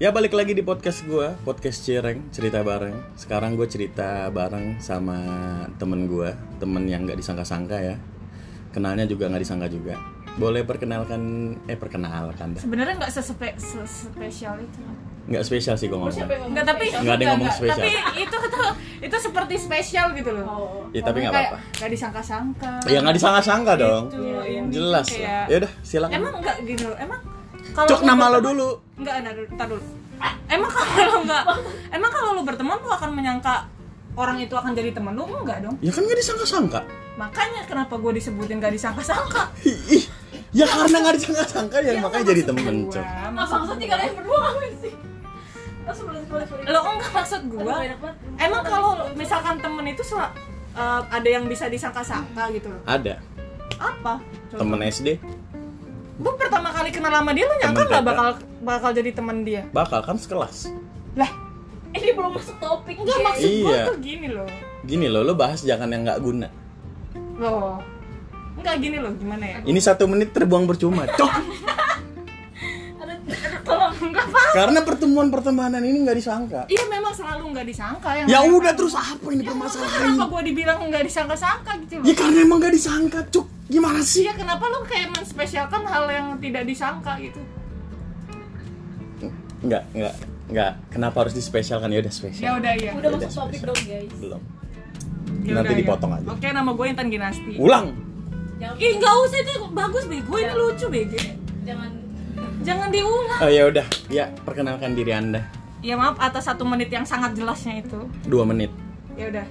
Ya balik lagi di podcast gua, podcast Cireng, cerita bareng. Sekarang gue cerita bareng sama temen gua, temen yang nggak disangka-sangka ya. Kenalnya juga nggak disangka juga. Boleh perkenalkan, eh perkenalkan dah. Sebenarnya nggak sespe- sespesial itu. Nggak spesial sih gue Oh, Oh, ngomong. Nggak tapi Nggak ada yang ngomong nggak, spesial. Tapi itu tuh itu seperti spesial gitu loh. Oh, Ya tapi nggak Kayak apa-apa. Nggak disangka-sangka. Gitu. Ya nggak disangka-sangka dong. iya. Jelas lah. Kayak- Ya udah, silakan. Emang nggak gini loh. Emang kalau Cuk lu nama lo berteman- dulu. Nggak ada dulu. Ntar dulu. Emang kalau nggak, emang kalau lu berteman lu akan menyangka orang itu akan jadi teman lu enggak dong? Ya kan nggak disangka-sangka. Makanya kenapa gue disebutin nggak disangka-sangka? Ih, ih. Ya karena nggak disangka-sangka ya makanya jadi temen Iya, Gua Cuk. Mas maksud- maksudnya kalian berdua ngapain sih? Oh, sebelum sebelum sebelum. Lo enggak maksud Aduh, gue. banyak banget. Emang kalau misalkan temen itu sel- eh, ada yang bisa disangka-sangka gitu loh. Ada Apa? Coba. temen SD Lu pertama kali kenal sama dia lu nyangka Temen nggak TK. bakal bakal jadi teman dia? bakal kan sekelas. Lah, ini belum masuk topik enggak guys. maksud gua Iya. tuh gini loh. Gini loh, lo bahas jangan yang nggak guna. Loh. Enggak Oh. gini loh, gimana ya? Ini satu menit terbuang percuma. Cok. Aduh, aduh, tolong enggak apa. Karena pertemuan pertemanan ini nggak disangka. Iya memang selalu nggak disangka yang Ya udah terus apa ini Maksudnya permasalahan? kenapa gua dibilang nggak disangka-sangka gitu loh? Ya karena emang nggak disangka, Cuk. Gimana sih? Iya kenapa lu kayak menspesialkan hal yang tidak disangka gitu? Nggak, nggak, nggak. Kenapa harus dispesialkan? Ya udah spesial. Ya udah ya. Udah Udah, masuk topik sudah. dong guys. Belum. Nanti Ya udah, ya. dipotong aja. Oke, nama gue Intan Ginasti. Ulang. Jangan Ih, nggak usah itu bagus bego, ini lucu bego. jangan Jangan diulang. Oh, ya udah. Ya perkenalkan diri anda. Ya maaf atas satu menit yang sangat jelasnya itu. Dua menit. Ya udah.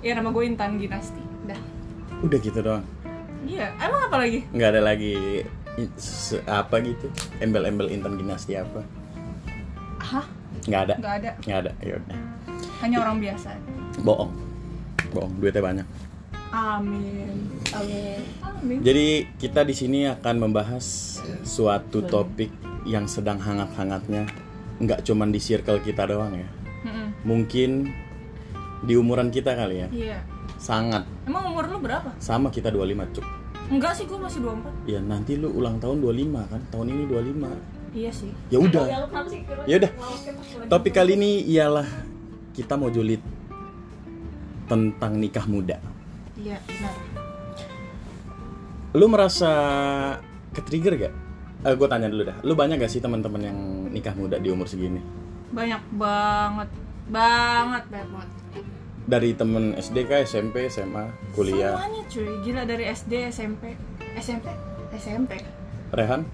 Ya nama gue Intan Ginasti. Dah. Udah gitu doang. Iya, emang apa lagi? Nggak ada lagi i- se- apa gitu. Embel-embel Intan Ginasti apa? Hah? Nggak ada. Nggak ada. Nggak ada. Ya udah. Hanya orang biasa. Bohong. Bohong. Duitnya banyak. Amin. amin. Amin. Jadi kita di sini akan membahas suatu topik yang sedang hangat-hangatnya, nggak cuman di circle kita doang ya. Mm-mm. Mungkin di umuran kita kali ya, Iya. sangat Emang umur lu berapa? sama kita 25 cuk. Enggak sih, gue masih 24. Ya nanti lu ulang tahun 25 kan, tahun ini 25. Iya sih. Ya udah. Ya lu kenapa sih? Kenapa? Ya udah. Mau, oke, pas lagi. Topik kali ini ialah kita mau julid tentang nikah muda. Iya, benar. Lu merasa ke trigger gak? Eh, gue tanya dulu dah, lu banyak gak sih teman-teman yang nikah muda di umur segini? Banyak banget. Banget banyak banget. dari temen SD kah, SMP, SMA, kuliah. Semuanya cuy, gila dari SD, SMP, SMP, SMP. Rehan?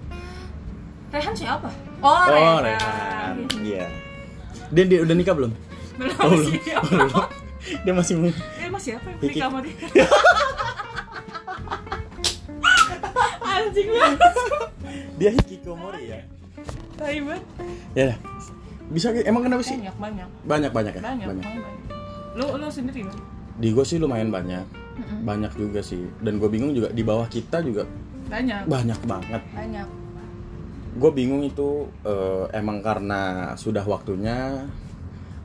Rehan siapa? Oh, Iya. Dia, dia udah nikah belum? Belum Oh, belum. siapa? Oh, belum. Dia masih belum. Eh, mas siapa yang Kiki. nikah sama dia? Anjing lah. Dia hikikomori ya. Tai banget. Ya. dah. Bisa ge- emang kenapa sih? Banyak, banyak. Banyak banyak ya. Banyak, banyak. Lu lu sendiri kan? Di gue sih lumayan banyak. Banyak juga sih. Dan gue bingung juga di bawah kita juga Banyak. banyak banget. Banyak. Gue bingung itu eh, emang karena sudah waktunya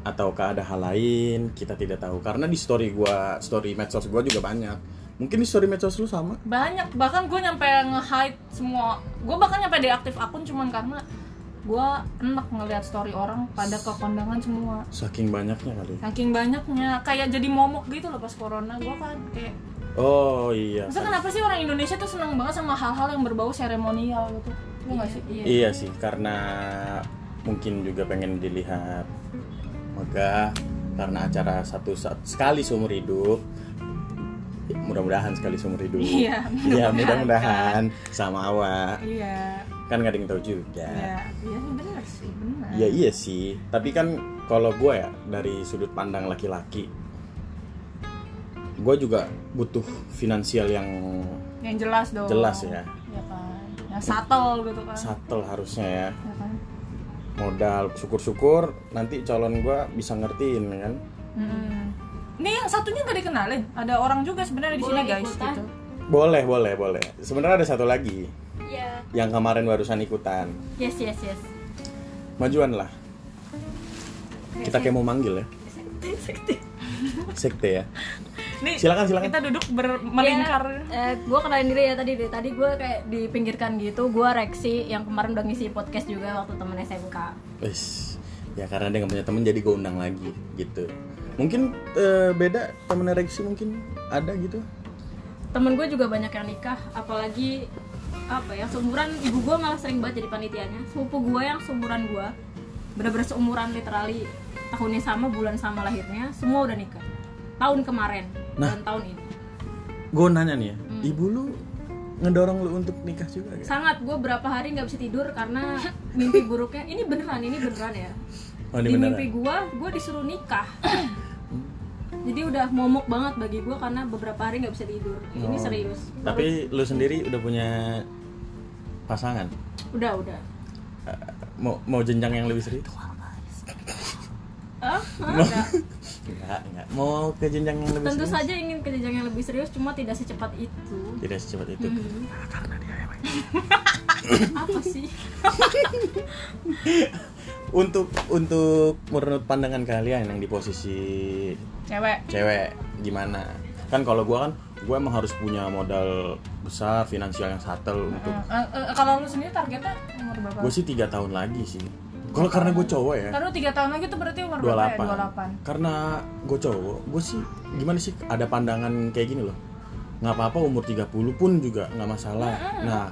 ataukah ada hal lain kita tidak tahu karena di story gua story medsos gua juga banyak mungkin di story medsos lu sama Banyak bahkan gue nyampe nge-hide semua. Gue bahkan nyampe deaktif akun cuman karena gue enak ngelihat story orang pada ke kondangan semua. saking banyaknya kali Saking banyaknya kayak jadi momok gitu loh pas corona gue kan kayak oh iya Maksudnya kenapa sih orang Indonesia tuh senang banget sama hal-hal yang berbau seremonial gitu? Lu gak sih? Iya. iya sih karena mungkin juga pengen dilihat megah karena acara satu saat sekali seumur hidup Ya, mudah-mudahan sekali seumur hidup Iya, Iya, mudah-mudahan. mudah-mudahan sama awak Iya. kan nggak ada yang tahu juga Iya, iya bener sih, bener. Ya iya sih, tapi kan kalau gue ya dari sudut pandang laki-laki, gue juga butuh finansial yang Yang jelas dong. Jelas ya. Iya kan. Yang satel gitu kan. satel harusnya ya Iya kan. modal. Syukur-syukur nanti calon gue bisa ngertiin kan. Mm-mm. Ini yang satunya nggak dikenalin. Ada orang juga sebenarnya di sini Boleh guys ikutan. gitu. Boleh boleh boleh. Sebenarnya ada satu lagi Iya. yang kemarin barusan ikutan. Yes yes yes. Majuan lah. Kita kayak mau manggil ya. Sekte ya. Nih, Silakan, silakan. Kita duduk ber- melingkar. Eh, gue kenalin diri ya tadi deh. Tadi gue kayak dipinggirkan gitu. Gue Rexi yang kemarin udah ngisi podcast juga waktu temen SMK. Wis. Ya karena dia nggak punya temen jadi gue undang lagi gitu. Mungkin eh, beda temen ereksi mungkin ada gitu. Temen gue juga banyak yang nikah. Apalagi apa ya seumuran ibu gue malah sering banget jadi panitianya. Sepupu gue yang seumuran gue bener-bener seumuran literally tahunnya sama bulan sama lahirnya semua udah nikah tahun kemarin Nah. dan tahun ini Gue nanya nih ya, ibu lu ngedorong lu untuk nikah juga gak? sangat gue berapa hari nggak bisa tidur karena mimpi buruknya ini beneran ini beneran ya Oh, ini beneran. di Hmm. mimpi gue gue disuruh nikah jadi udah momok banget bagi gue karena beberapa hari nggak bisa tidur ini Oh. serius Tapi lu sendiri udah punya pasangan? udah udah Eh, mau mau jenjang yang lebih serius? Hah? Hah? Mau- Udah. enggak, enggak. Mau ke jenjang yang lebih tentu serius? saja ingin ke jenjang yang lebih serius cuma tidak secepat itu Tidak secepat itu. Hmm. apa sih Untuk untuk menurut pandangan kalian yang di posisi Cewek. cewek gimana kan kalau gua kan gue emang harus punya modal besar finansial yang satel untuk Eh, eh, kalau lu sendiri targetnya umur berapa? gue sih tiga tahun lagi sih kalau karena gue cowok ya Taruh 3 tahun lagi tuh berarti umur berapa ya? 28 karena gue cowok gue sih gimana sih ada pandangan kayak gini loh nggak apa-apa umur 30 pun juga nggak masalah nah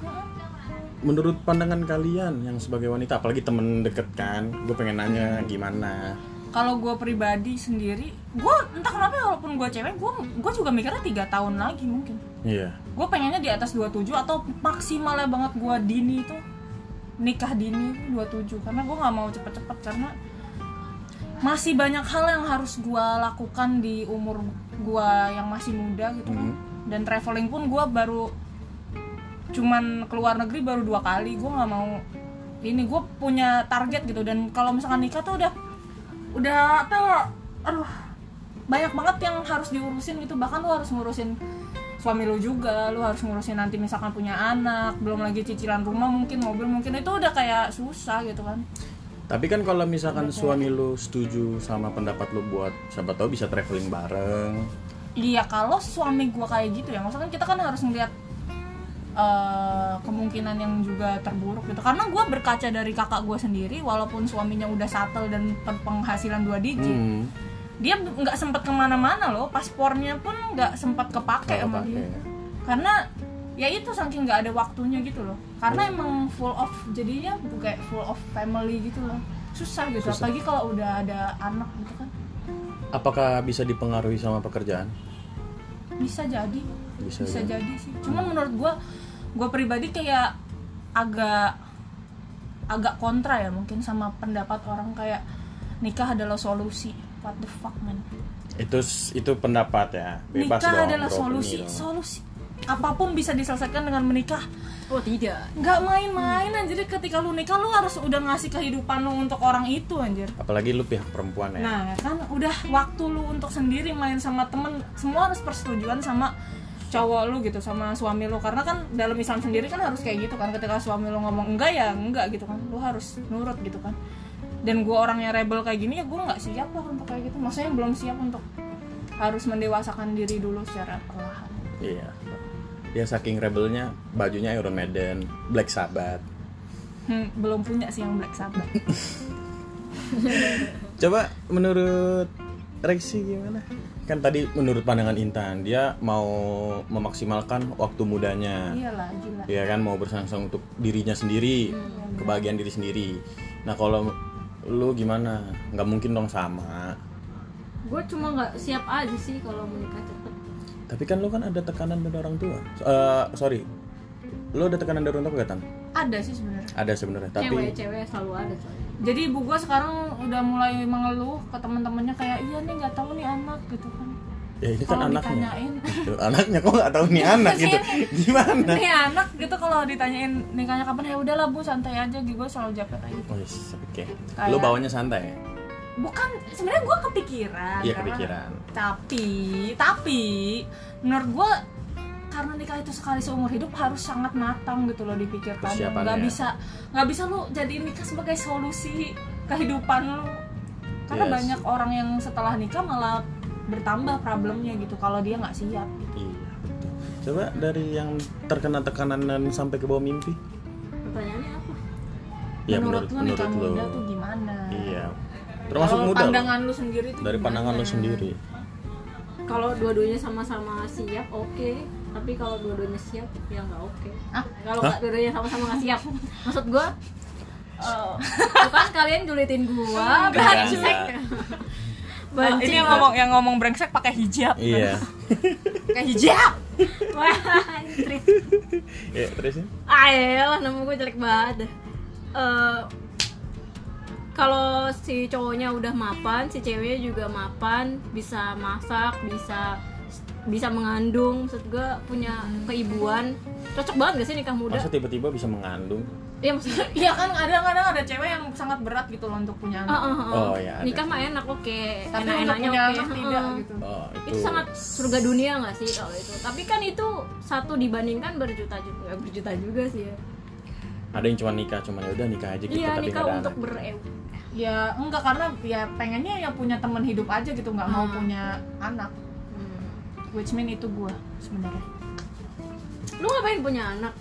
menurut pandangan kalian yang sebagai wanita apalagi temen deket kan gue pengen nanya gimana 28. Kalau gue pribadi sendiri, gue entah kenapa ya, walaupun gue cewek, gue gue juga mikirnya 3 tahun lagi mungkin. iya Gue pengennya di atas 27 atau maksimalnya banget gue dini itu nikah dini 27 karena gue nggak mau cepet-cepet karena masih banyak hal yang harus gue lakukan di umur gue yang masih muda gitu kan Mhm. dan traveling pun gue baru cuman keluar negeri baru dua kali gue nggak mau ini gue punya target gitu dan kalau misalkan nikah tuh udah udah apa ya, aduh banyak banget yang harus diurusin gitu bahkan lu harus ngurusin suami lu juga lu harus ngurusin nanti misalkan punya anak belum lagi cicilan rumah mungkin mobil mungkin itu udah kayak susah gitu kan Tapi kan kalau misalkan suami lu setuju sama pendapat lu buat siapa tahu bisa traveling bareng. Iya kalau suami gua kayak gitu ya, maksudnya kita kan harus ngeliat eh, kemungkinan yang juga terburuk gitu. Karena gua berkaca dari kakak gua sendiri, walaupun suaminya udah settle dan per- penghasilan dua digit, Hmm. dia b- nggak sempet kemana-mana loh, paspornya pun nggak sempet kepake sama pakai. dia. Karena ya itu saking nggak ada waktunya gitu loh. Karena emang full of jadinya kayak full of family gitu loh, susah gitu. Susah. Apalagi kalau udah ada anak gitu kan, Apakah bisa dipengaruhi sama pekerjaan? bisa jadi. Bisa. bisa ya? jadi sih cuma menurut gua gua pribadi kayak agak agak kontra ya mungkin sama pendapat orang kayak nikah adalah solusi what the fuck man Itu s- itu pendapat ya. Bebas nikah dong, adalah beropini solusi dong. solusi apapun bisa diselesaikan dengan menikah oh tidak nggak main-main anjir ketika lu nikah lu harus udah ngasih kehidupan lu untuk orang itu anjir Apalagi lu pihak perempuan ya. Nah, kan udah waktu lu untuk sendiri main sama temen, semua harus persetujuan sama cowok lu gitu, sama suami lu. Karena kan dalam Islam sendiri kan harus kayak gitu kan, ketika suami lu ngomong enggak ya enggak gitu kan, lu harus nurut gitu kan. Dan gue orangnya rebel kayak gini ya gue nggak siap lah untuk kayak gitu. Maksudnya belum siap untuk harus mendewasakan diri dulu secara perlahan. Iya. Dia saking rebelnya bajunya Iron Maiden, Black Sabbath. Hmm, belum punya sih yang Black Sabbath. Coba menurut Rexi gimana? Kan tadi menurut pandangan Intan, dia mau memaksimalkan waktu mudanya. Iyalah, gila. ya kan mau bersangsang untuk dirinya sendiri Hmm. kebahagiaan diri sendiri nah kalau lu gimana nggak mungkin dong sama gue cuma nggak siap aja sih kalau menikah cepet tapi kan lu kan ada tekanan dari orang tua Eh, sorry lu ada tekanan dari orang tua nggak tan Ada sih sebenarnya. ada sebenarnya tapi cewek-cewek selalu ada coy jadi ibu gue sekarang udah mulai mengeluh ke teman-temannya kayak iya nih nggak tahu nih anak gitu kan ya ini kan Kalau anaknya ditanyain. Gitu, anaknya kok nggak tahu nih anak gitu gimana nih anak gitu kalau ditanyain nikahnya kapan ya udahlah bu santai aja gue selalu jawab kayak gitu Oh, yes, oke Kayak- lu bawanya santai ya? bukan sebenarnya gue kepikiran iya karena- kepikiran tapi tapi menurut gue karena nikah itu sekali seumur hidup harus sangat matang gitu loh dipikirkan Persiapannya. nggak bisa nggak bisa lu jadiin nikah sebagai solusi kehidupan lu karena Yes. banyak orang yang setelah nikah malah bertambah problemnya gitu kalau dia nggak siap gitu. Iya. betul. Coba dari yang terkena tekanan dan sampai ke bawah mimpi. pertanyaannya apa menurut, lu nikah muda tuh gimana? Iya. Termasuk Kalau muda. loh. pandangan lu sendiri tuh Dari pandangan lu sendiri. kalau dua-duanya sama-sama siap oke tapi kalau dua-duanya siap ya nggak oke Ah. kalau nggak dua-duanya sama-sama nggak siap maksud gua eh, bukan kalian julitin gua Enggak, brengsek. enggak. Oh, ini Banci. yang ngomong yang ngomong brengsek pakai hijab. Iya. Pakai hijab. Wah, anjrit. Iya, terus ya? Ah, elah, nama gue jelek banget. dah. Eh, kalau si cowoknya udah mapan, si ceweknya juga mapan, bisa masak, bisa bisa mengandung, maksud gue punya keibuan. Cocok banget gak sih nikah muda? Masa tiba-tiba bisa mengandung? Iya maksudnya. Iya kan kadang-kadang ada cewek yang sangat berat gitu loh untuk punya anak. Ah, ah, ah. Oh, iya, ada Nikah sih. mah enak oke, Tapi untuk enak-enaknya punya oke. anak tidak ah. gitu. Oh, itu. itu sangat surga dunia nggak sih kalau itu tapi kan itu satu dibandingkan berjuta juta nggak berjuta juga sih ya Ada yang cuma nikah, cuma ya udah nikah aja gitu iya tapi nikah nggak ada untuk anak. ber Ya enggak karena ya pengennya ya punya teman hidup aja gitu nggak mau Hmm. punya anak. Which mean itu gua sebenarnya. lu ngapain punya anak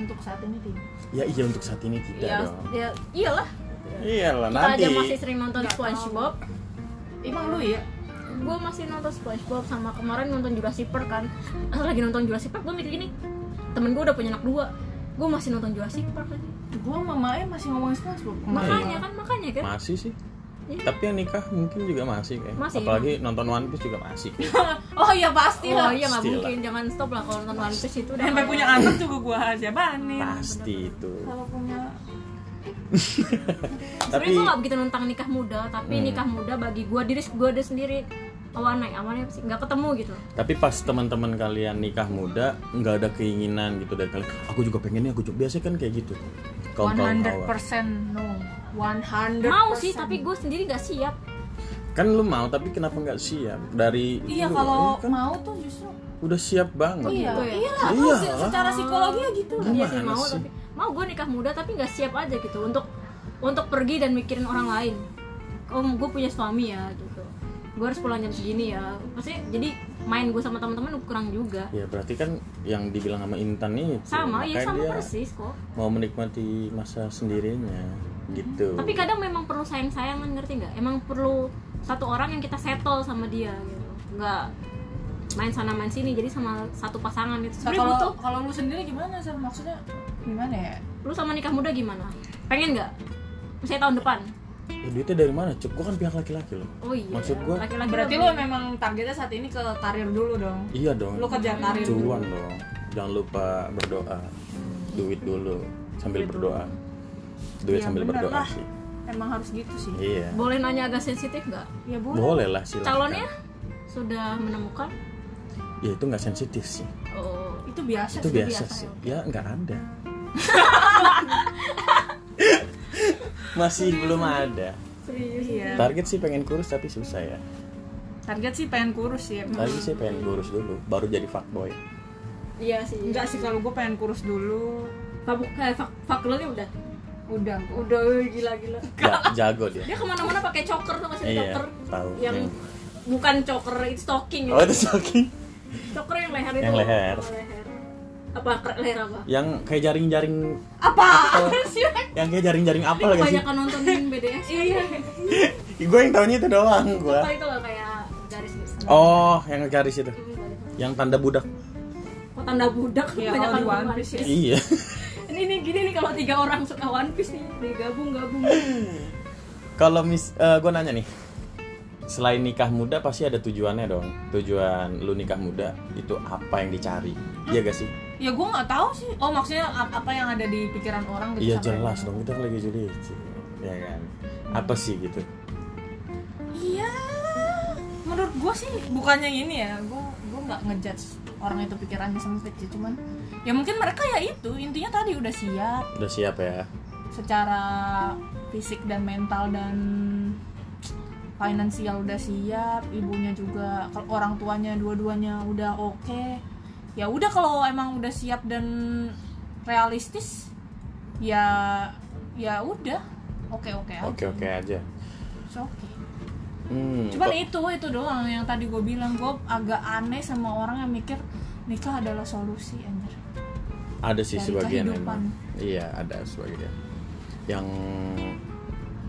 Untuk saat ini tidak. Ya iya untuk saat ini tidak ya, dong. ya iyalah Iyalah kita nanti. aja masih sering nonton Nggak SpongeBob Emang lu ya? gue masih nonton SpongeBob sama kemarin nonton Jurassic Park kan Pas lagi nonton Jurassic Park gue mikir gini temen gue udah punya anak dua gue masih nonton Jurassic Park lagi Oh, Gua sama Ma'e masih ngomongin SpongeBob. iya. makanya kan makanya kan Masih sih. Iya. Tapi yang nikah mungkin juga masih kayak. Masih, Apalagi nonton One Piece juga masih. kayak. Oh iya pasti oh lah. iya nggak Still mungkin jangan stop lah kalau nonton One Piece itu udah Sampai punya anak juga gua aja banin. Pasti itu. Kalau punya Tapi Sebenarnya gue gak begitu tentang nikah muda, tapi Hmm. nikah muda bagi gue diri gue ada sendiri awan naik awannya apa sih nggak ketemu gitu. tapi pas teman-teman kalian nikah muda nggak ada keinginan gitu dari kalian aku juga pengen nih aku juga biasanya kan kayak gitu kaum kaum 100% awal no 100% Mau sih, tapi gue sendiri nggak siap. kan lu mau tapi kenapa nggak siap dari iya lu, kalau lu kan mau tuh justru udah siap banget iya gitu. ya? iya Iya. lah kalau se- secara psikologi gitu lah. Iya sih Gimana mau sih? tapi mau gue nikah muda tapi nggak siap aja gitu untuk untuk pergi dan mikirin orang lain. Oh gue punya suami ya gitu. Gue harus pulang jam segini ya. Maksudnya jadi main gue sama teman-teman kurang juga. ya berarti kan yang dibilang sama Intan nih Sama, iya, ya sama dia persis kok. mau menikmati masa sendirinya gitu Tapi kan- kadang memang perlu sayang-sayangan ngerti nggak? Emang perlu satu orang yang kita settle sama dia gitu. Nggak main sana main sini jadi sama satu pasangan itu. Nah, Sebenarnya kalau butuh. kalau lu sendiri gimana sih maksudnya gimana ya Lu sama nikah muda gimana? Pengen nggak? Misalnya tahun depan. Ya, duitnya dari mana cuk gua kan pihak laki-laki loh Oh iya. Maksud gua, laki-laki berarti lu lebih- memang targetnya saat ini ke karir dulu dong iya dong lu kan- kerja karir dulu cuan dong jangan lupa berdoa duit dulu sambil berdoa duit Iya, sambil bener berdoa lah. sih emang harus gitu sih iya boleh nanya agak sensitif nggak? ya boleh boleh lah silakan Calonnya sudah menemukan. ya itu nggak sensitif sih Oh. itu biasa itu sih. biasa, biasa sih ya nggak ada masih belum ada Serius. iya target sih pengen kurus tapi susah ya target sih pengen kurus sih ya target sih pengen kurus dulu baru jadi fuckboy Iya sih. enggak sih kalau gue pengen kurus dulu Fabuk kayak fak fakulnya udah. udah gua. Udah gila-gila. Ja- jago dia Dia kemana-mana pakai choker tuh masih iya choker. tahu yang Yang- bukan choker itu stocking oh itu shocking choker yang leher itu Yang leher. Oh, apa ke- leher apa yang kayak jaring-jaring apa sih yang kayak jaring-jaring apel gak sih kebanyakan nontonin BDS iya gue yang tahunya itu doang gue apa itu loh kayak garis besar oh yang garis itu yang tanda budak kok tanda budak Ya, kalau kebanyakan di One nonton Piece ya. iya ini nih gini nih kalau tiga orang suka One Piece nih digabung gabung Kalau mis, gue nanya nih, selain nikah muda pasti ada tujuannya dong. Tujuan lu nikah muda itu apa yang dicari? Iya gak sih? ya gue nggak tahu sih oh maksudnya ap- apa yang ada di pikiran orang gitu Iya sampai- jelas dong kita lagi juli, ya kan? Apa sih gitu? Iya, menurut gue sih bukannya ini ya, gue gue nggak ngejudge orang itu pikirannya sempit sih, cuman ya mungkin mereka ya itu intinya tadi udah siap Udah siap ya? secara fisik dan mental dan finansial udah siap, ibunya juga kalau orang tuanya dua-duanya udah oke, ya udah kalau emang udah siap dan realistis, ya ya udah oke oke aja, Oke oke aja. It's okay. Hmm, cuman kok- itu itu doang yang tadi gue bilang gue agak aneh sama orang yang mikir nikah adalah solusi anjir ada sih dari sebagian kehidupan. emang. iya ada sebagian yang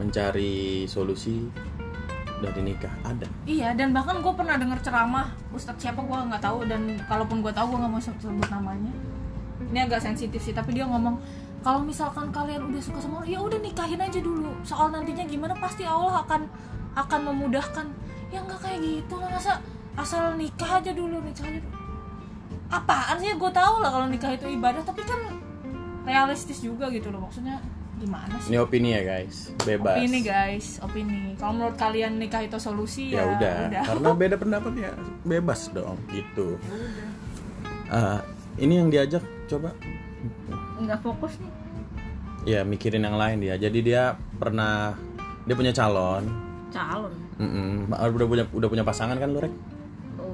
mencari solusi dari nikah ada iya dan bahkan gue pernah denger ceramah ustadz siapa gue nggak tahu dan kalaupun gue tahu gue nggak mau sebut namanya ini agak sensitif sih tapi dia ngomong kalau misalkan kalian udah suka sama orang ya udah nikahin aja dulu soal nantinya gimana pasti Allah akan akan memudahkan ya nggak kayak gitu lah masa asal nikah aja dulu nikah aja dulu apaan sih gue tahu lah kalau nikah itu ibadah tapi kan realistis juga gitu loh maksudnya gimana sih ini opini ya guys bebas opini guys opini kalau menurut kalian nikah itu solusi ya Iya, ya, udah karena beda pendapat ya bebas dong gitu Ya Ah, ini yang diajak coba nggak fokus nih ya mikirin yang lain dia jadi dia pernah dia punya calon calon Mm-mm. udah punya udah punya pasangan kan lu rek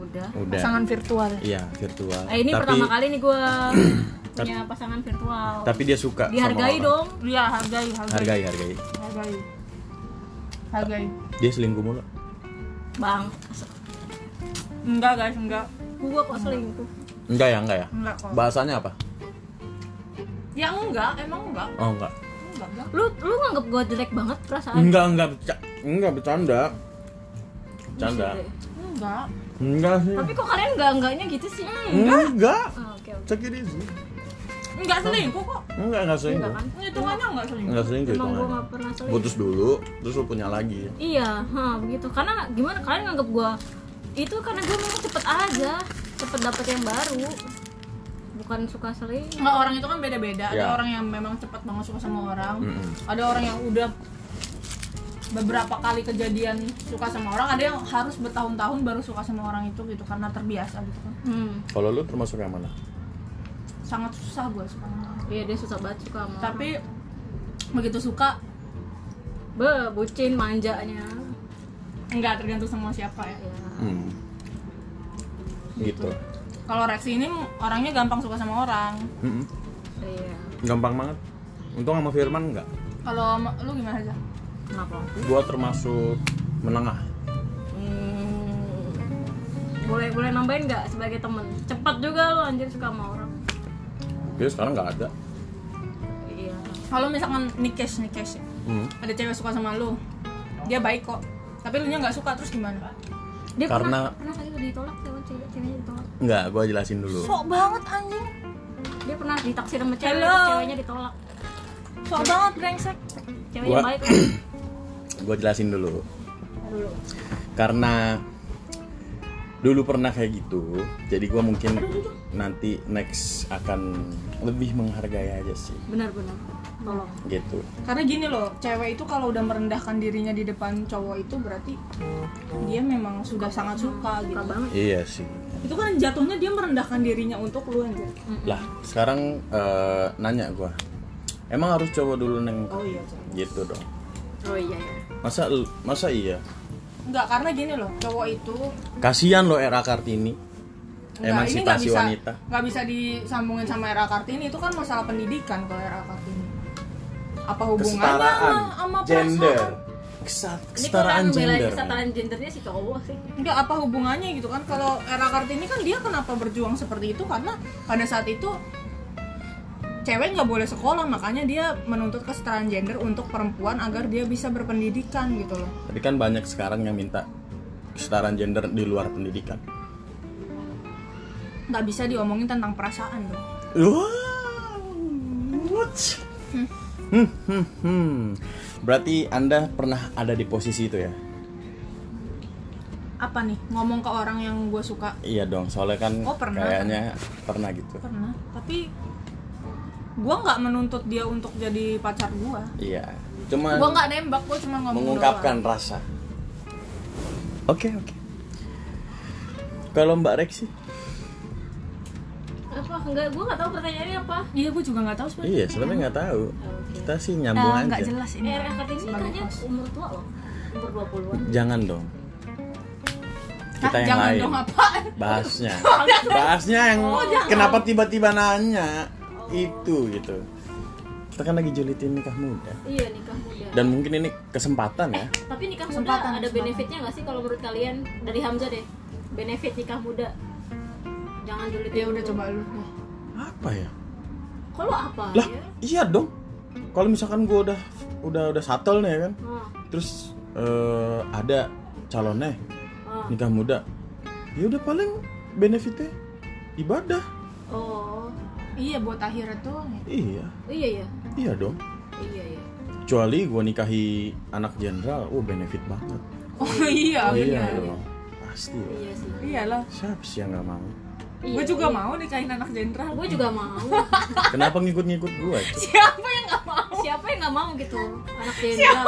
udah udah pasangan virtual iya virtual Eh, ini tapi pertama kali nih gue punya pasangan virtual tapi dia suka sama dihargai orang. dong iya hargai hargai hargai hargai hargai hargai dia selingkuh mulu bang enggak guys enggak gue kok gitu. selingkuh enggak ya enggak ya enggak kok bahasanya apa ya enggak emang enggak oh enggak enggak enggak lu lu nganggep gue jelek banget perasaan enggak enggak berca- enggak bercanda bercanda enggak enggak sih Iya tapi kok kalian enggak enggaknya gitu sih Hmm. enggak Oh, oke oke cek ini sih enggak selingkuh kok enggak enggak selingkuh kan hitungannya enggak selingkuh enggak selingkuh emang gue hitungannya nggak ya? pernah selingkuh putus dulu terus lu punya lagi Iya, ha, begitu. Karena gimana kalian nganggap gua itu karena gua mau cepet aja, cepet dapet yang baru. Bukan suka sering. Enggak, orang itu kan beda-beda ada Ya. orang yang memang cepat banget suka sama orang Mm-mm. ada orang yang udah beberapa kali kejadian suka sama orang ada yang harus bertahun-tahun baru suka sama orang itu gitu karena terbiasa gitu kan Hmm. kalau lu termasuk yang mana sangat susah gue suka sama orang. Iya, dia susah banget suka sama. tapi begitu suka be bucin manjanya. nggak tergantung sama siapa ya Ya. hmm. gitu kalau Rex ini orangnya gampang suka sama orang Mm-mm. Iya. Hmm. gampang banget untung sama Firman enggak kalau ma- lu gimana aja Kenapa? gua termasuk menengah Hmm. Boleh boleh nambahin nggak sebagai temen? Cepet juga lo anjir suka sama orang. dia sekarang nggak ada Iya. kalau misalkan nikes nikes ya. Hmm. ada cewek suka sama lu dia baik kok tapi lu nya nggak suka terus gimana Dia Karena- pernah, pernah kali ditolak sama cewek, ceweknya ditolak. nggak gua jelasin dulu sok banget anjing Dia pernah ditaksir sama cewek, Hello. ceweknya ditolak. sok banget brengsek Ceweknya Gua- baik. gua jelasin dulu Dulu. karena dulu pernah kayak gitu jadi gua mungkin gitu? nanti next akan lebih menghargai aja sih Benar-benar. Tolong. gitu karena gini loh cewek itu kalau udah merendahkan dirinya di depan cowok itu berarti dia memang sudah sangat suka Suka gitu banget. iya sih itu kan jatuhnya dia merendahkan dirinya untuk lu anjir lah sekarang eh, nanya gua emang harus coba dulu neng oh iya cewek. gitu dong Oh iya ya. masa l- masa iya Enggak, karena gini loh, cowok itu kasihan loh era kartini enggak, ini nggak emansipasi bisa wanita nggak bisa disambungin sama era kartini itu kan masalah pendidikan kalau era kartini. Apa hubungannya sama, kesetaraan sama gender perasaan? Kesa- Ini kurang kesetaraan belain gender kesetaraan gendernya si cowok sih. Enggak, apa hubungannya gitu kan? Kalau era kartini kan dia kenapa berjuang seperti itu karena pada saat itu cewek nggak boleh sekolah makanya dia menuntut kesetaraan gender untuk perempuan agar dia bisa berpendidikan gitu loh. tapi kan banyak sekarang yang minta kesetaraan gender di luar pendidikan Nggak bisa diomongin tentang perasaan dong. Wow. Wuts. Hmm, hmm, hmm. Berarti Anda pernah ada di posisi itu ya? Apa nih ngomong ke orang yang gue suka Iya dong, soalnya kan Oh, pernah. kayaknya pernah gitu. pernah tapi gua nggak menuntut dia untuk jadi pacar gua Iya. Cuma gua nggak nembak gua cuma ngomong mengungkapkan rasa. Oke, oke. Kalau Mbak Rex sih? Apa enggak gua enggak tahu pertanyaannya apa. doang. iya gua juga nggak tahu sebenarnya Iya, sebenarnya nggak tahu. Kita sih Eh, nyambung nggak aja. jelas ini Eh, Era Kartini Sebagai kayaknya host. umur tua loh. Umur 20-an. Jangan dong. Kita Hah, yang jangan lain. dong Oh, apaan bahasnya Oh, bahasnya yang kenapa tiba-tiba nanya itu gitu Kita kan lagi julitin nikah muda. Iya nikah muda. Dan mungkin ini kesempatan ya. Tapi nikah muda Kesempatan, ada kesempatan. benefitnya nggak sih kalau menurut kalian dari Hamzah deh? Benefit nikah muda. Jangan dulu ya udah coba lu Apa ya? Kalau apa? Lah, ya? iya dong. Kalau misalkan gue udah udah udah settle nih ya kan. Ah, Terus eh, ada calonnya ah. nikah muda. Ya udah paling benefitnya ibadah. Oh. iya buat akhirat doang ya Iya, Iya ya. iya dong. Iya ya. Kecuali gue nikahi anak jenderal, oh benefit banget. oh iya iya bener dong. Pasti. lah. Iya sih. iyalah Siapa sih yang gak mau? Iya. gue juga mau nikahin anak jenderal Gue juga mau. Kenapa ngikut-ngikut gue? siapa yang nggak mau Siapa yang nggak mau gitu? Anak jenderal.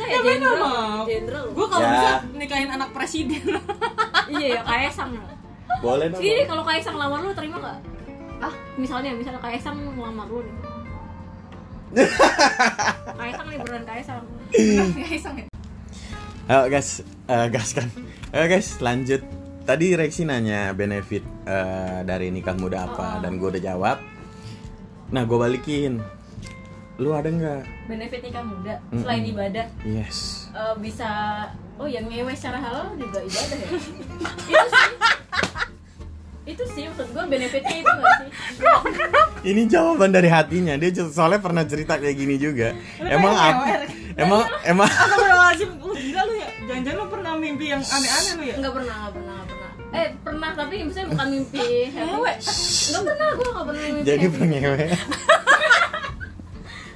Siapa yang ya nggak jenderal. mau? Jenderal. loh. gue kalau Ya. bisa nikahin anak presiden Iya ya Kaisang. Boleh Iya, dong. Ini Iya, kalau Kaisang lamar lu terima nggak? Ah, misalnya misalnya Kaisang lamar lu nih. Kaisang nih beneran Kaisang. Kaisang ya? Ayo guys, eh, gas kan. Ayo guys, lanjut. Tadi Rexi nanya benefit eh, dari nikah muda apa dan gue udah jawab. Nah, gue balikin. Lu ada nggak? Benefit nikah muda selain ibadah Yes. eh, bisa oh yang ngewe secara halal juga ibadah ya. itu sih. Itu sih maksud gue benefitnya itu nggak sih? Ini jawaban dari hatinya. Dia j- soalnya pernah cerita kayak gini juga. Emang apa? Emang emang Astagfirullahaladzim, lu gila lu ya? Jangan-jangan lu pernah mimpi yang aneh-aneh lu ya? Enggak pernah, enggak pernah, enggak pernah. Eh, pernah tapi misalnya bukan mimpi. Ngewe. Enggak pernah, gue enggak pernah mimpi. jadi pengewe.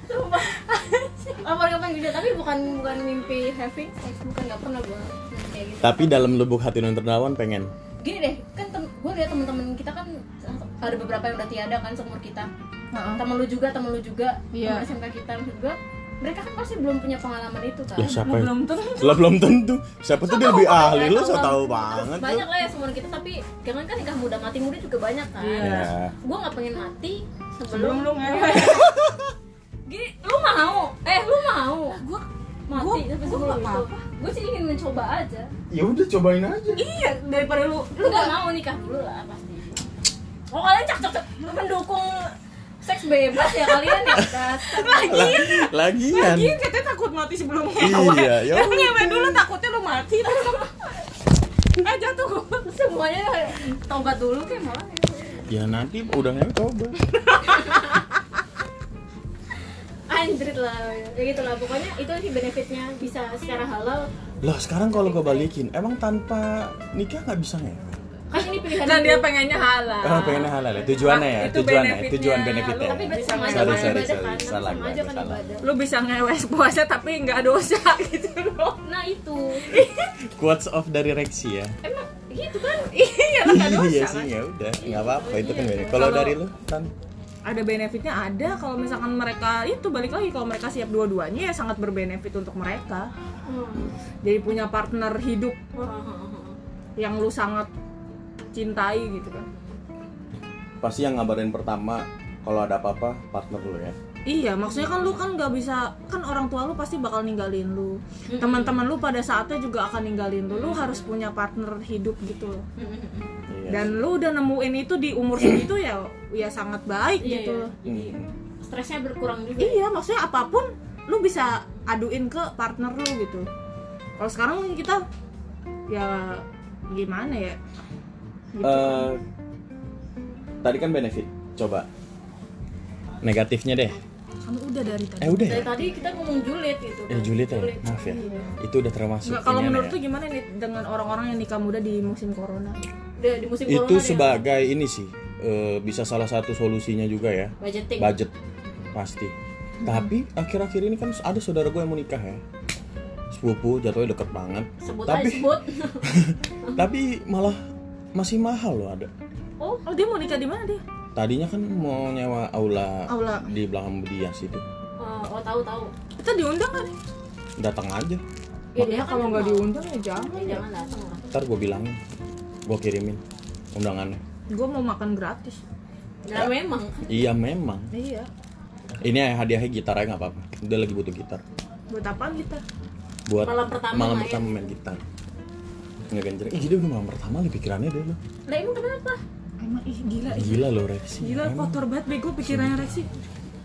Sumpah. Apa kapan juga tapi bukan bukan mimpi having sex, bukan enggak pernah gue kayak gitu. Tapi dalam lubuk hati non terdawan pengen. Gini deh, kan gue lihat teman-teman kita kan ada beberapa yang udah tiada kan seumur kita. Temen lu juga, temen lu juga, Iya. temen SMK kita maksud gue. Mereka kan pasti belum punya pengalaman itu kan. Lah siapa? ya? Belum tentu Lah belum tentu. Siapa tuh dia lebih ahli lu, so Mereka tau belum- banget lu. Banyak lah ya seumur kita tapi jangan kan nikah muda mati muda juga banyak kan. Ya. gue nggak pengen mati Iya. Sebelum sebelum lu ngewe gini lu mau eh lu mau Gue mati Gua- tapi gua sebelum nggak itu gue sih ingin mencoba aja Ya udah cobain aja. iya daripada lu lu nggak mau nikah dulu lah pasti oh kalian cak cak cak lu pendukung seks bebas ya kalian ya dasar lagi Lagian. lagi katanya takut mati sebelum ngewe Iya, ya Kan ngewe dulu takutnya lu mati terus Eh jatuh semuanya tobat dulu kayak malah ya. Ya nanti udah ngewe coba. anjrit lah ya gitu lah pokoknya itu sih benefitnya bisa secara halal Lah sekarang kalau gue balikin, emang tanpa nikah nggak bisa ngewe? kan ini pilihan Dan dia hidup. pengennya halal Oh, pengennya halal ya, tujuannya ya, Ah. Itu tujuannya, ya, benefitnya. tujuan benefitnya. Lu- tapi berarti sama aja Sorry, kan sorry, ibadah sorry. kan Tapi Salah sama gua, aja kan salah. ibadah Lu bisa ngewe puasa tapi nggak dosa gitu loh nah itu Quotes off dari Rexi ya. emang gitu kan Iya lu nggak dosa Iya. iya sih, ya udah, nggak apa-apa itu kan benefit. Kalau Kalau- dari lu, kan ada benefitnya ada kalau misalkan mereka itu balik lagi kalau mereka siap dua-duanya ya sangat berbenefit untuk mereka jadi punya partner hidup Hmm. yang lu sangat cintai gitu kan pasti yang ngabarin pertama kalau ada apa-apa partner lu ya. iya maksudnya kan lu kan nggak bisa kan orang tua lu pasti bakal ninggalin lu teman-teman lu pada saatnya juga akan ninggalin lu lu harus punya partner hidup gitu loh Iya. dan lu udah nemuin itu di umur segitu ya ya sangat baik Iya, gitu iya. loh. Hmm. stresnya berkurang juga Iya, maksudnya apapun lu bisa aduin ke partner lu gitu. Kalau sekarang mungkin kita ya gimana ya? Gitu. Eh, tadi kan benefit, coba negatifnya deh. kan udah dari tadi. Eh udah ya? dari tadi kita ngomong julid gitu Eh Juli ya, maaf ya. Itu udah termasuk. Nggak, kalau inian menurut ya. lu gimana nih dengan orang-orang yang nikah muda di musim corona? Udah, di musim itu ya? corona ya. dia sebagai ini sih eh, bisa salah satu solusinya juga ya budgeting budget pasti tapi akhir-akhir ini kan ada saudara gue yang mau nikah ya sepupu jatuhnya deket banget sebut tapi aja sebut tapi malah masih mahal loh ada Oh, dia mau nikah di mana dia? tadinya kan mau nyewa aula, Aula. di belakang Bedias itu oh, oh tahu tahu Kita diundang kan? datang aja Iya, ya, dia kan kenal. diundang ya jangan. Ya, jangan datang lah ntar gue bilangin gue kirimin undangannya Gue mau makan gratis. nah memang iya memang Iya. ini hadiahnya gitarnya nggak apa-apa dia lagi butuh gitar Buat apaan kita? buat Malam pertama malam main. pertama main gitar nggak ganjreng ih dia udah malam pertama di pikirannya deh lo lah emang kenapa Emang ih gila. ih. gila lo Rex Gila kotor banget bego pikirannya Rexi.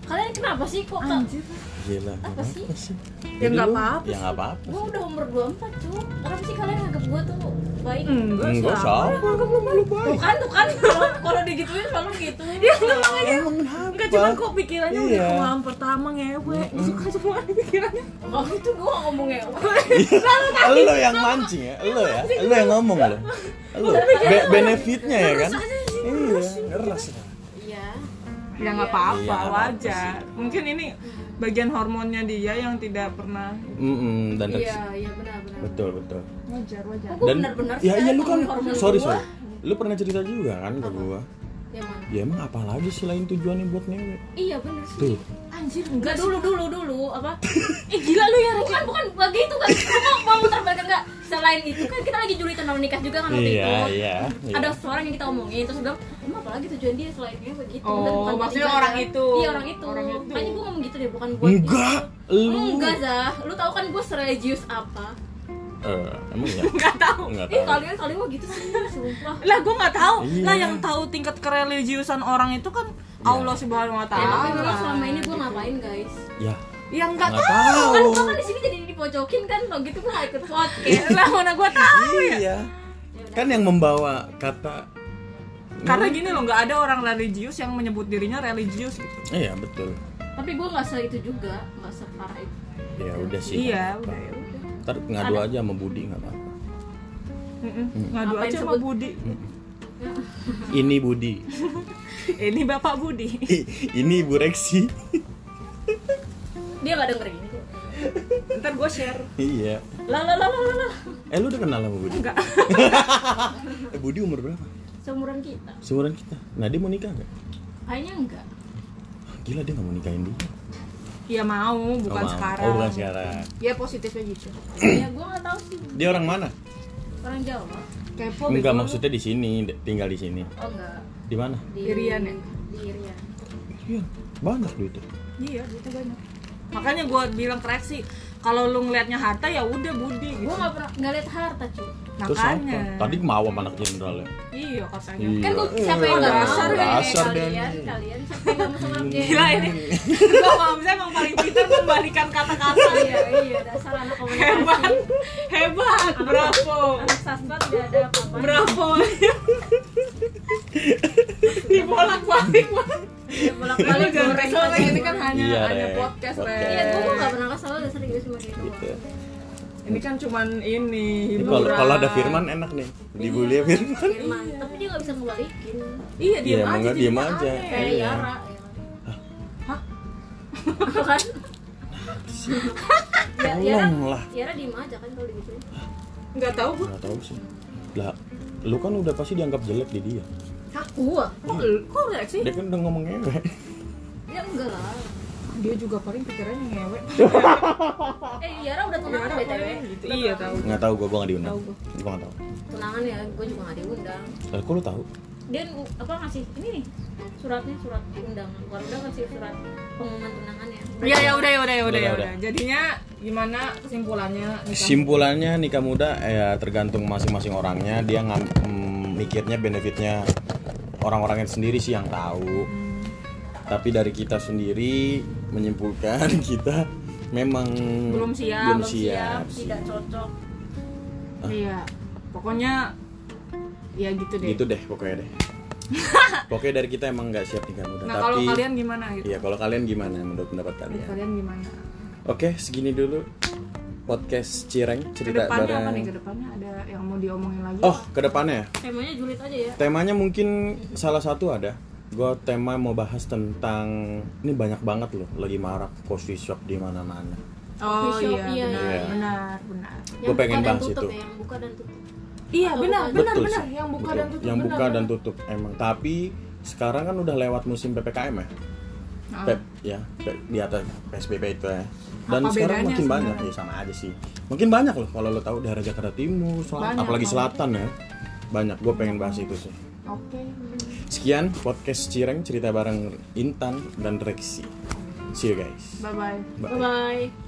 kalian kenapa sih kok Ah. ke- Anjir. Gila, nggak Apa sih? apa-apa sih? Ya, nggak Jadi lu- apa-apa Ya nggak apa-apa. gue udah umur 24 cu kenapa sih kalian nganggap gue tuh baik Hmm. Enggak Enggak siapa siapa? yang nganggep lu baik. tuh kan tuh kan kalau kalau digituin selalu gitu Iya. Emang kenapa? Enggak cuman kok pikirannya udah Iya. kelam pertama ngewe Suka semua nih pikirannya waktu itu gue gitu ngomongnya Lo yang mancing ya, lo ya, lo yang ngomong lo. Lo Be- benefitnya ya kan? Iya, ngeras. iya Ya nggak apa-apa, Iya, nggak apa-apa wajar Mungkin ini bagian hormonnya dia yang tidak pernah Mm dan iya terus. iya benar benar Betul betul. Wajar, wajar kok gue benar-benar ya iya lu kan, ngomongin hormon sorry gua. sorry, lu pernah cerita juga kan ke gua. Ya, Man. Ya emang apa lagi selain tujuannya buat ngewe? iya benar sih Tuh, anjir enggak dulu dulu dulu apa eh gila lu ya bukan bukan bagi itu kan lu kok mau muter balik enggak selain itu kan kita lagi juli tentang nikah juga kan waktu Iya, itu iya, iya. ada seorang yang kita omongin terus dia bilang emang apalagi tujuan dia selainnya begitu Oh, Dan bukan buat maksudnya ibadah." orang itu. iya orang itu Orang itu. makanya gue ngomong gitu deh bukan buat enggak, gitu. lu. enggak Zah lu tau kan gue serius apa Eh, emang ya? Nggak tahu Enggak eh tahu. kalian kalian mau gitu sih sumpah lah gue nggak tahu Iya. lah yang tahu tingkat kereligiusan orang itu kan Allah subhanahu wa ya, tapi taala memang selama ini gue ngapain guys Ya, yang nggak nggak tahu kan tahu. gue kan di sini jadi dipojokin kan kalau gitu gue gak ikut podcast lah mana gue tahu ya Iya. Eh, Kan yang membawa kata karena gini loh nggak ada orang religius yang menyebut dirinya religius gitu Iya betul. tapi gue nggak se itu juga nggak separah itu Ya udah sih. iya nggak udah ya apa-apa. udah Ntar ngadu aja sama Budi nggak apa-apa. Mm-mm. ngadu Ngapain aja sama sebut- Budi Ini Budi. ini bapak Budi Ih, Ini Bu Reksi. dia nggak denger ini ntar gue share iya. lah lah lah lah lah, lah Eh lu udah kenal sama Budi? enggak Eh, Budi umur berapa? seumuran kita Seumuran kita. Nah dia mau nikah nggak? kayaknya enggak Ah, Gila dia nggak mau nikahin dia. ya mau bukan Oh, mau. sekarang Iya, Oh bukan sekarang. Ya positifnya gitu. ya gue nggak tahu sih Dia orang mana? orang Jawa Kepo Enggak bego. maksudnya di sini, de- tinggal di sini. oh enggak Di mana? di Irian ya? di Irian Iya, banyak duitnya. iya duitnya banyak makanya gue bilang kreasi kalau lu ngelihatnya harta ya udah Budi gitu gue nggak pernah nggak lihat harta cuy Terus apa? makanya Tadi mau sama anak jenderal ya. iya katanya Iya. kan gue siapa yang kan ya, nggak mau Dasar, kayak dasar dia kalian nih. kalian siapa yang nggak mau sama dia Gila ini. Gua sama Hamzah emang paling pintar membalikan kata-kata. iya iya dasar anak Hebat. komunikasi Hebat, bravo. anak sastra tidak ada apa-apa Bravo. Dibolak-balik banget. bolak Lu balik jangan goreng kesel, Reng. Ini kan hanya Iya, ada Rek. podcast, Rek. Podcast. iya gue mah nggak pernah kesal udah serius sama dia doang. Gitu. Ini kan cuman ini. Ini Kalau hiburan. kalau ada Firman enak nih. Dibully ya Firman. Firman Iya, tapi dia nggak bisa ngebalikin Iya, Iya, diam emang aja. nggak jadi diem nggak aja. aneh. kayak Iya. Yara ya. Hah? kan? Ya, Yara, Tolonglah. Yara diem aja kan kalau gitu. Nggak tahu gua. Nggak tahu sih. Lah, lu kan udah pasti dianggap jelek di dia. Aku? Kok Iya. lu- kok enggak sih? Dia kan udah ngomong ngewe. Ya enggak lah. Dia juga paling pikirannya ngewek. Eh Yara udah tunangan Yara btw. paling gitu. Iya, tahu. Nggak tahu gua, gua nggak diundang. Tahu gua. Gua nggak tahu. Tunangan ya, gue juga nggak diundang. Lah, kok lu tahu? Dia nu- apa ngasih ini nih suratnya surat undangan. Bukan udah ngasih surat pengumuman tunangannya. Iya, ya udah, ya udah, ya udah, ya Udah, udah. udah. Jadinya gimana kesimpulannya? Nika? Simpulannya nikah muda ya tergantung masing-masing orangnya. Dia ngam, mm, mikirnya benefitnya orang-orangnya sendiri sih yang tahu. Tapi dari kita sendiri menyimpulkan kita memang Belum siap, belum belum siap. Ah. Tidak cocok. Iya. Pokoknya ya gitu deh. Gitu deh pokoknya deh. pokoknya dari kita emang nggak siap nikah muda. Nah, Tapi kalau kalian gimana gitu? Iya, kalau kalian gimana menurut pendapat kalian? Kalian gimana? Oke, segini dulu podcast Cireng cerita Kedepannya apa nih? bareng. Kedepannya ada yang mau diomongin lagi? Oh, kedepannya ya? Temanya julid aja ya. Temanya mungkin salah satu ada. Gue tema mau bahas tentang ini banyak banget loh, lagi marak coffee shop di mana-mana. Oh Coffee shop, iya, iya, benar, iya. benar, benar. Gua Yang pengen buka dan bahas tutup itu. ya, Yang buka dan tutup. Iya, Atau benar, bukan? benar, Betul benar. sih. Yang buka Betul. dan tutup. Yang benar, buka dan benar. tutup emang. Tapi sekarang kan udah lewat musim PPKM Ah. ya. Nah, Pep, ya, Pe- di atas PSBB itu ya. Dan Apa sekarang bedanya makin banyak ya sebenarnya? sama aja sih. Makin banyak loh kalau lo tahu daerah Jakarta Timur, selat- Banyak apalagi banget. selatan ya. Banyak, gue pengen bahas itu sih. Oke. Sekian podcast Cireng cerita bareng Intan dan Rexi. See you guys. Bye bye. Bye bye.